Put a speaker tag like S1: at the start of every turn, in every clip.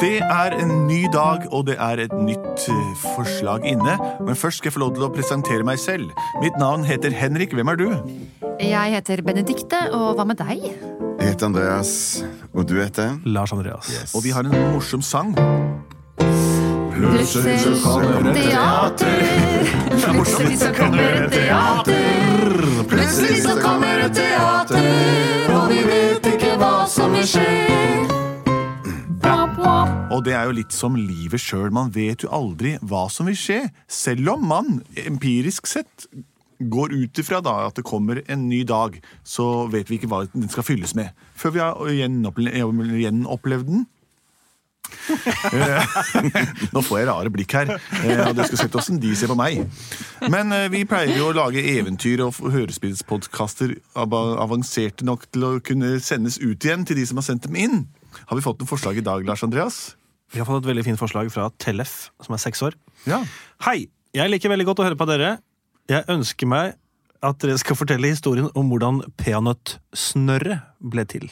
S1: Det er en ny dag, og det er et nytt eh, forslag inne. Men først skal jeg få lov til å presentere meg selv. Mitt navn heter Henrik. Hvem er du?
S2: Jeg heter Benedikte, og hva med deg?
S3: Jeg heter Andreas, og du heter?
S4: Lars Andreas.
S1: Og vi har en morsom sang.
S2: Plutselig så kommer et teater. Plutselig så kommer et teater. Plutselig så kommer et teater, og vi vet ikke hva som vil skje. Wap, wap.
S1: Og det er jo litt som livet sjøl. Man vet jo aldri hva som vil skje. Selv om man empirisk sett går ut ifra da at det kommer en ny dag, så vet vi ikke hva den skal fylles med. Før vi har gjenopple- gjenopplevd den. Eh, Nå får jeg rare blikk her, eh, og dere skal sett åssen de ser på meg. Men eh, vi pleier jo å lage eventyr og f- hørespillspodkaster ab- avanserte nok til å kunne sendes ut igjen til de som har sendt dem inn. Har vi fått noen forslag i dag, Lars Andreas?
S4: Vi har fått et veldig fint forslag fra Tellef, som er seks år.
S1: Ja.
S4: Hei! Jeg liker veldig godt å høre på dere. Jeg ønsker meg at dere skal fortelle historien om hvordan peanøttsnørret ble til.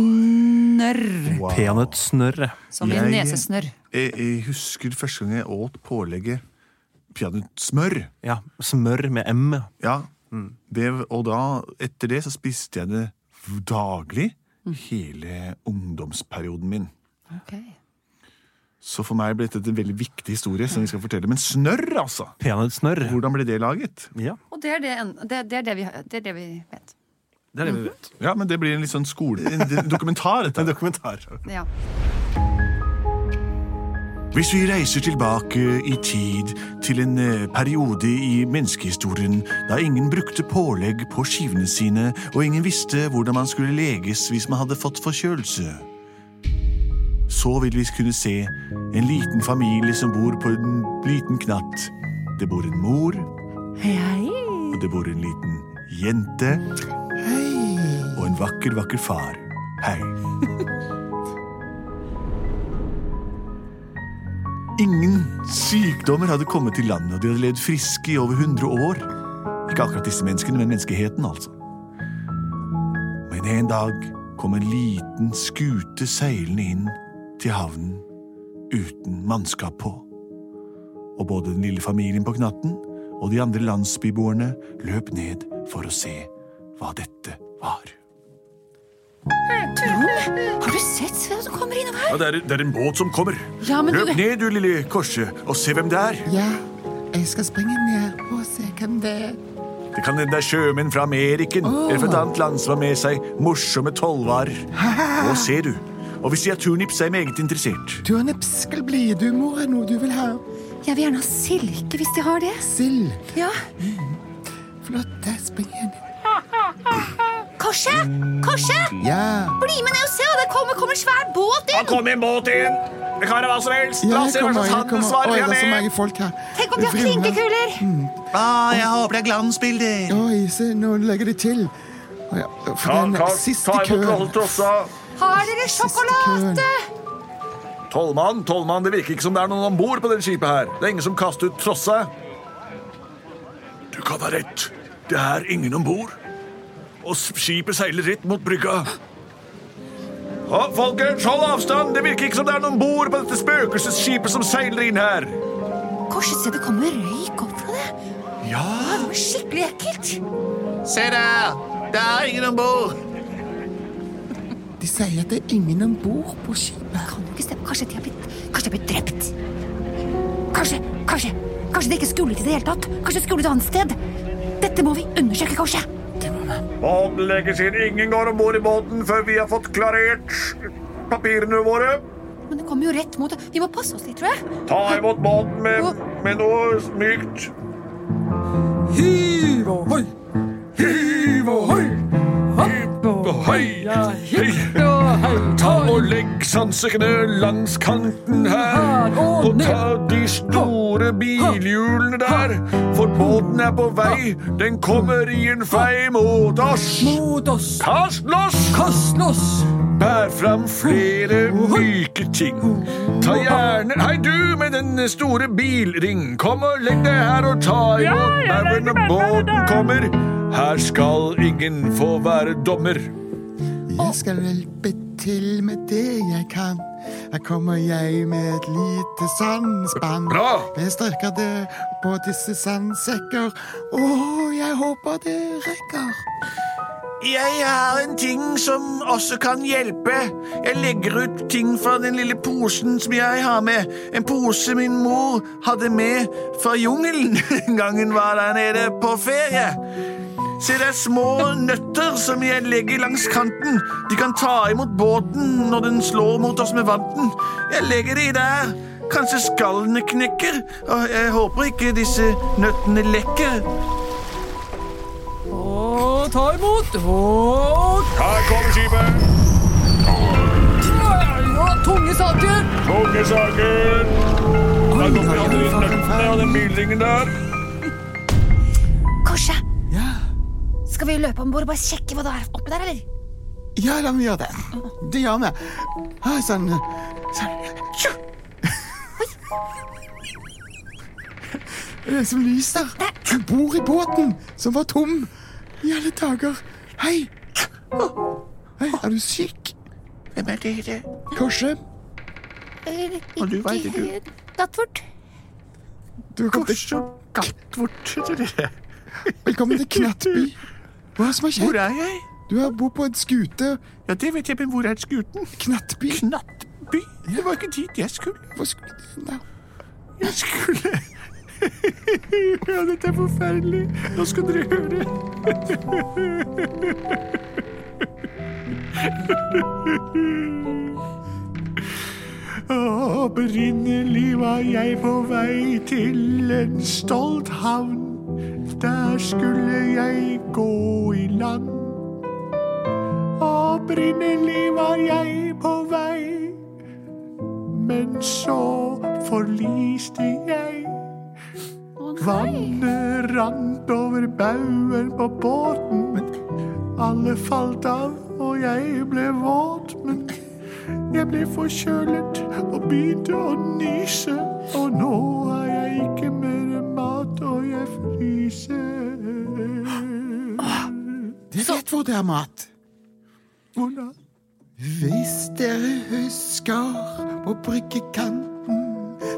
S2: Snørr.
S1: Wow.
S4: Peanøttsnørret.
S2: Som i
S1: Jeg-
S2: nesesnørr.
S1: Jeg, jeg husker første gang jeg åt pålegget peanøttsmør.
S4: Ja, smør med M.
S1: Ja. Det, og da, etter det så spiste jeg det daglig hele ungdomsperioden min.
S2: Ok.
S1: Så for meg ble dette en veldig viktig historie som vi skal fortelle. Men snørr, altså!
S4: Peanøttsnørr.
S1: Hvordan ble det laget?
S4: Ja,
S2: Og det er det, en- det, det, er det, vi, det er det vi vet.
S4: det er det vi vet.
S1: Ja, men Det blir en litt sånn skole... En dokumentar, dette. her.
S4: Dokumentar.
S2: Ja.
S1: Hvis vi reiser tilbake i tid til en eh, periode i menneskehistorien da ingen brukte pålegg på skivene sine, og ingen visste hvordan man skulle leges hvis man hadde fått forkjølelse, så vil vi kunne se en liten familie som bor på en liten knatt. Det bor en mor, og det bor en liten jente og en vakker, vakker far. Hei. Ingen sykdommer hadde kommet til landet, og de hadde levd friske i over 100 år. Ikke akkurat disse menneskene, men menneskeheten, altså. Men en dag kom en liten skute seilende inn til havnen uten mannskap på. Og både den lille familien på Knatten og de andre landsbyboerne løp ned for å se hva dette var.
S2: Har du sett hvem som kommer innom her?
S1: Ja, det er, en båt som kommer.
S2: Ja, men du...
S1: ned, du lille korset, og se hvem det er.
S5: Ja, jeg skal springe ned og se hvem det er.
S1: Det kan hende det er sjømenn fra Ameriken eller fra et annet land som har med seg morsomme tollvarer. Nå ser du. Og hvis de har turnips, er jeg meget interessert.
S5: Du har nepskel blid, du mor, er noe du vil ha.
S2: Jeg vil gjerne ha silke hvis de har det.
S5: Sild.
S2: Ja.
S5: Flott, der springer jeg ned.
S2: Korset! Korset!
S5: Ja.
S2: Bli med ned og se! Det kommer, kommer en svær båt inn!
S4: Kom i båt inn! Det kan være hva som helst!
S5: Ja, jeg kommer, jeg kommer. Oi, det er så mange folk her.
S2: Tenk om de har
S5: Vrimler.
S2: klinkekuler!
S1: Ah, jeg håper det er glansbilder.
S5: Oi, se, nå legger de til. Å ja, for den siste køen.
S1: trossa.
S2: Har dere sjokolade?
S1: Tollmann, tollmann, det virker ikke som det er noen om bord på det skipet her. Det er ingen som kaster ut trossa. Du kan ha rett. Det er ingen om bord. Og skipet seiler rett mot brygga. folkens, hold avstand! Det virker ikke som det er noen om bord på dette spøkelsesskipet som seiler inn her.
S2: Korset, se, det kommer røyk opp fra det.
S1: Ja,
S2: Det var skikkelig ekkelt.
S1: se der! Det er ingen om bord!
S5: De sier at det er ingen om bord på skipet.
S2: Kan jo ikke stemme. Kanskje de har blitt, kanskje de har blitt drept? Kanskje, kanskje, kanskje det ikke skulle til det hele tatt? Kanskje det skulle et annet sted? Dette må vi undersøke, kanskje.
S6: Båten legges inn. Ingen går om bord i båten før vi har fått klarert papirene våre.
S2: Men det kommer jo rett mot Vi må passe oss litt, tror jeg.
S6: Ta imot båten med, med noe mykt. Ta og legg sandsekkene langs kanten her. Og ta de store bilhjulene der, for båten er på vei. Den kommer i en fei mot oss. Kast loss! Bær fram flere myke ting. Ta gjerne Hei, du med den store bilring. Kom og legg deg her og ta imot baugen når båten kommer. Her skal ingen få være dommer.
S5: Jeg skal vel be til med det jeg kan. Her kommer jeg med et lite sandspann.
S1: Bra!
S5: Jeg størker det på disse sandsekker. Å, jeg håper det rekker.
S1: Jeg har en ting som også kan hjelpe. Jeg legger ut ting fra den lille posen som jeg har med. En pose min mor hadde med fra jungelen den gangen var der nede på ferie. Se, det er små nøtter som jeg legger langs kanten. De kan ta imot båten når den slår mot oss med vanten. Jeg legger de der. Kanskje skallene knekker. Og jeg håper ikke disse nøttene lekker.
S2: Og ta imot. Og
S1: Her kommer skipet.
S2: Og tunge saker.
S1: Kongesaken! Da kommer alle de nøttene og den bildingen der.
S7: Korset! Skal vi løpe om bord og bare sjekke hva det er oppi der, eller?
S5: Ja, la meg gjøre det. Det gjør vi. Ha, Sånn. sånn. Tju! Det er som lys der. Hun bor i båten, som var tom. I alle dager. Hei. Hei, er du syk?
S1: Hvem er dere?
S5: Korset,
S7: eller
S1: du
S7: ikke
S1: vet ikke.
S7: helt. Gattfort.
S5: du er kommet til,
S1: Så godt bort til dere.
S5: velkommen til Knattby. Hva er det som
S1: Hvor
S5: har skjedd?
S1: er jeg?
S5: Du har bodd på en skute.
S1: Ja, det vet jeg, men hvor er skuten?
S5: Knattby.
S1: Knattby? Det var ikke dit jeg skulle.
S5: Hva skulle du hen da?
S1: Jeg skulle... Ja, dette er forferdelig. Nå skal dere høre. Opprinnelig var jeg på vei til en stolt havn. Der skulle jeg gå i land. Opprinnelig var jeg på vei, men så forliste jeg. Vannet rant over baugen på båten. Alle falt av, og jeg ble våt. Men jeg ble forkjølet og begynte å nyse. Og nå har jeg ikke mer mat, og jeg fryser.
S5: Dere vet hvor det er mat.
S1: Hvordan?
S5: Hvis dere husker på bryggekanten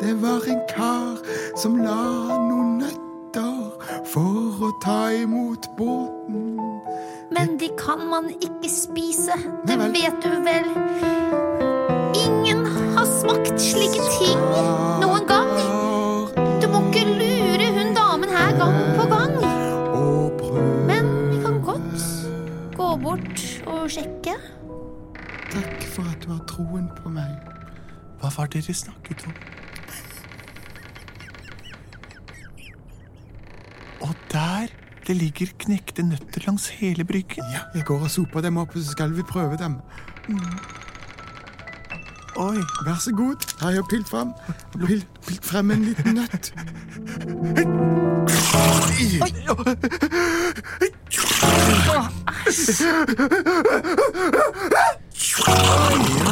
S5: Det var en kar som la noen nøtter for å ta imot båten.
S7: Men de kan man ikke spise.
S5: Nei
S7: Det
S5: vel.
S7: vet du vel. Ingen har smakt slike ting noen gang. Du må ikke lure hun damen her gang på gang. Men vi kan godt gå bort og sjekke.
S5: Takk for at du har troen på meg.
S8: Hva var det dere snakket om? Og der det ligger knekte nøtter langs hele bryggen.
S5: Ja, jeg går og soper dem opp, og så skal vi prøve dem.
S8: Oi,
S5: Vær så god. Her har jeg pilt frem. Pilt, pilt frem en liten nøtt.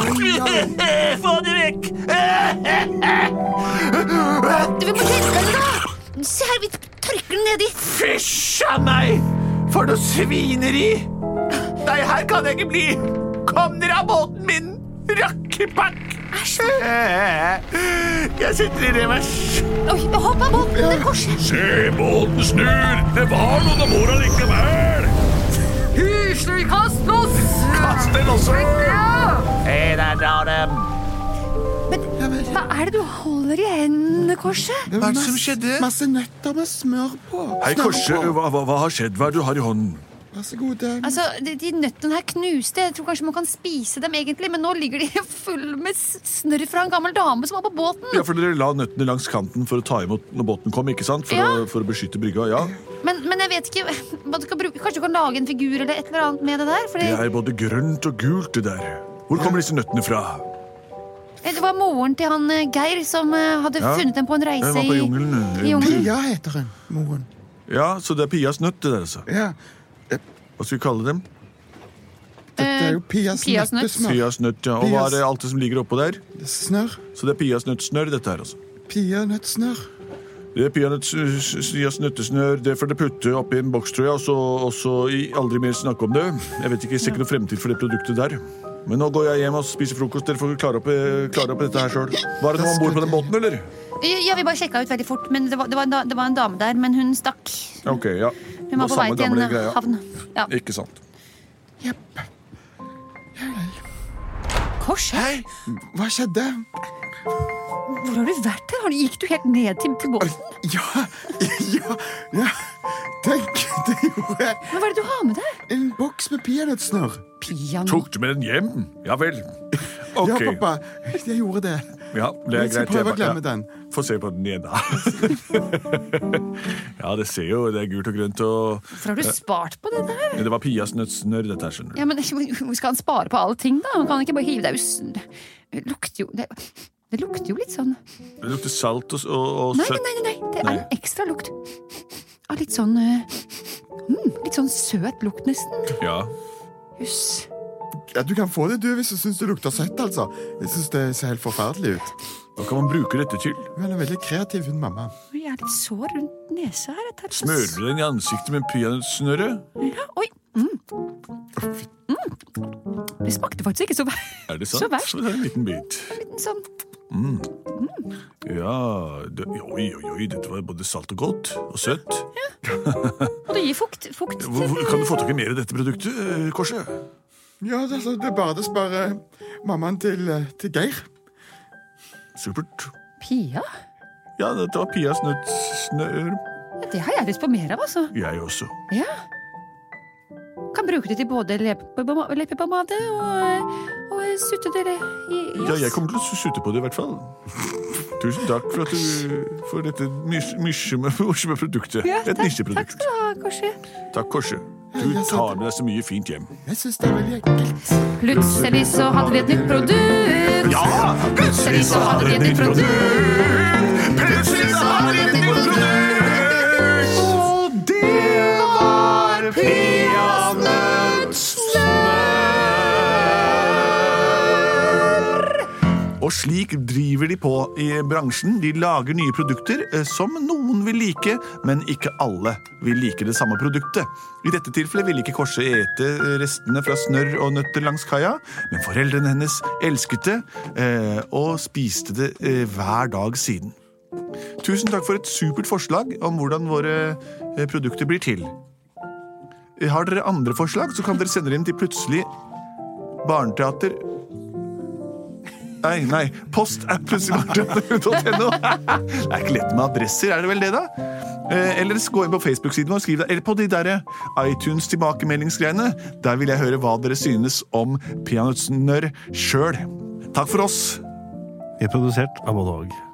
S1: Få det vekk!
S7: Du vil på tilstanden, da! Se her, vi tørker den nedi.
S1: Fysj a meg! For noe svineri! Nei, her kan jeg ikke bli! Kom dere av båten min, rakkepakk!
S7: Æsj.
S1: Jeg sitter i revers.
S7: Oi, hopp av båten, det korset.
S1: Se, båten snur! Det var noen om bord allikevel!
S2: Hysj, kast oss!
S1: Kast den også! Se der drar dem!
S7: Hva er det du holder i hendene, korset?
S5: Det
S8: hva
S5: var
S8: er det som
S5: masse,
S8: skjedde?
S5: masse nøtter med smør på.
S1: Hei,
S5: Smør
S1: Korse,
S5: på.
S1: hva, hva, hva har skjedd? Hva er det du har i hånden?
S5: Vær så god. det er-
S2: Altså, de, de nøttene her knuste. Jeg tror kanskje man kan spise dem, egentlig, men nå ligger de full med s- snørr fra en gammel dame som var på båten.
S8: Ja, for Dere la nøttene langs kanten for å ta imot når båten kom, ikke sant? For,
S2: Ja.
S8: å, for å beskytte brygga. ja.
S2: Men, men jeg vet ikke hva du skal bruke. Kanskje du kan lage en figur eller et eller annet med det der? Fordi
S8: Det er både grønt og gult, det der. Hvor kommer disse nøttene fra?
S2: Eh, Det var moren til han eh, Geir som eh, hadde
S8: Ja.
S2: funnet dem på en reise
S8: Jeg var Eh, på jungelen.
S2: i jungelen.
S5: Pia heter hun, moren.
S8: Ja, Så det er Pias nøtt, det der, altså.
S5: Ja,
S8: Hva skal vi kalle dem?
S5: Dette er
S2: eh,
S5: jo Pias,
S2: Pias nøtt.
S5: nøttesmør.
S8: Pias nøtt, ja. Og hva
S5: Pias-
S8: er det alt det som ligger oppå der?
S5: Snørr.
S8: Så det er Pias nøttsnørr, dette her, altså.
S5: Peanøttsnørr.
S8: Det er peanøttsnørs nøttesnør. Det får dere putte oppi en boks, tror jeg, og så, og så i, aldri mer snakke om det. Jeg vet ikke, jeg ser ikke noe fremtid for det produktet der.
S1: Men nå går jeg hjem og spiser frokost. Dere får klare opp, eh, klare opp dette her sjøl. Var det noen om bord på den båten, eller?
S7: Ja, vi bare sjekka ut veldig fort, men det var, det, var en, da- det var en dame der, men hun stakk.
S1: Ok, ja.
S7: Hun var
S1: Det
S7: på vei
S1: samme
S7: til
S2: eh,
S1: gamle
S7: en
S1: greia.
S7: havn. Ja.
S1: Ikke sant.
S2: Kors,
S5: Hei, hva skjedde?
S2: hvor har du vært her? Har du- Gikk du helt ned til, til båten?
S5: Ja, ja, ja Tenk, det gjorde jeg.
S2: Men hva er det du har med deg?
S5: En boks med peanøttsnørr.
S2: Piano.
S1: Tok du med den hjem? Ja vel.
S5: Ja,
S1: Ok.
S5: pappa, jeg gjorde det.
S1: Ja, det er
S5: Jeg skal
S1: greit. Jeg
S5: prøve å
S1: bare-
S5: glemme den.
S1: Få se på den igjen, da. ja, det ser jo det er gult og grønt og
S2: Hvorfor har du spart på det der?
S1: Men Det var Pias nøttsnørr, dette her, skjønner du.
S2: Ja, men hvor Skal han spare på alle ting, da? Han kan ikke bare hive deg us... Det lukter jo det, det lukter jo litt sånn
S1: Det lukter salt og, og, og
S2: Nei, nei,
S1: søtt.
S2: nei, nei, nei. det er
S1: Nei.
S2: en ekstra lukt. Av litt sånn eh, mm, Litt sånn søt lukt, nesten.
S1: Ja.
S2: Jøss.
S5: Ja, du kan få det, du, hvis du syns det lukter søtt, altså. Jeg syns det ser helt forferdelig ut.
S1: Hva kan man bruke dette til?
S5: Hun er veldig kreativ, hun mamma.
S2: Oi, Jeg er litt sår rundt nesa her. dette er så-
S1: Smører du den i ansiktet med peanøttsnørret?
S2: Ja, oi. Mm. Mm. Det smakte faktisk ikke så verst.
S1: Er det
S2: Så
S1: sant?
S2: verst.
S1: det er en liten bit.
S2: Sånn.
S1: Ja det, Oi, oi, oi, dette var både salt og godt. Og søtt.
S2: Og det gir fukt. fukt til-
S1: Hvor, hvor, kan du få tak i mer av dette produktet, eh, Korset?
S5: Ja, det, altså, det er bare å spørre mammaen til, eh, til Geir.
S1: Supert.
S2: Pia?
S1: Ja, dette var Pias nøttsnørr.
S2: Ja, Det har jeg lyst på mer av, altså.
S1: Jeg også.
S2: Ja. Kan bruke det til både leppepomade leppepomade og, eh, og sutte dere i i-
S1: Ja, jeg kommer til å su- sutte på det i hvert fall. Tusen takk for, at du, for dette mys- myrseme morsomme produktet.
S2: Ja,
S1: Et
S2: takk- Takk
S1: nisjeprodukt.
S2: skal du ha, Korsi.
S1: Takk, Korse. Du
S5: jeg sa
S1: tar med deg så mye fint hjem.
S5: Jeg syns det er veldig ekkelt.
S2: Plutselig så hadde vi et nytt produkt.
S1: Ja!
S2: Plutselig så hadde vi et nytt produkt.
S1: Plutselig så har vi et nytt produkt! Og det var peanøttsnørr! Og slik driver de på i bransjen. De lager nye produkter eh, som noen vil like, men ikke alle vil like det samme produktet. I dette tilfellet ville ikke Korse ete eh, restene fra snørr og nøtter langs kaia, men foreldrene hennes elsket det eh, og spiste det eh, hver dag siden. Tusen takk for et supert forslag om hvordan våre eh, produkter blir til. Eh, Har dere andre forslag, så kan dere sende det inn til plutselig barneteater... Nei, nei. Post at plutseligbarneteater.no. Det er ikke lett med adresser, er det vel det, da? Eh, Eller så gå inn på Facebook-siden vår og skriv det. Eller på de der iTunes-tilbakemeldingsgreiene. Der vil jeg høre hva dere synes om peanøttsnørr sjøl. Takk for oss.
S4: Vi er produsert av både og.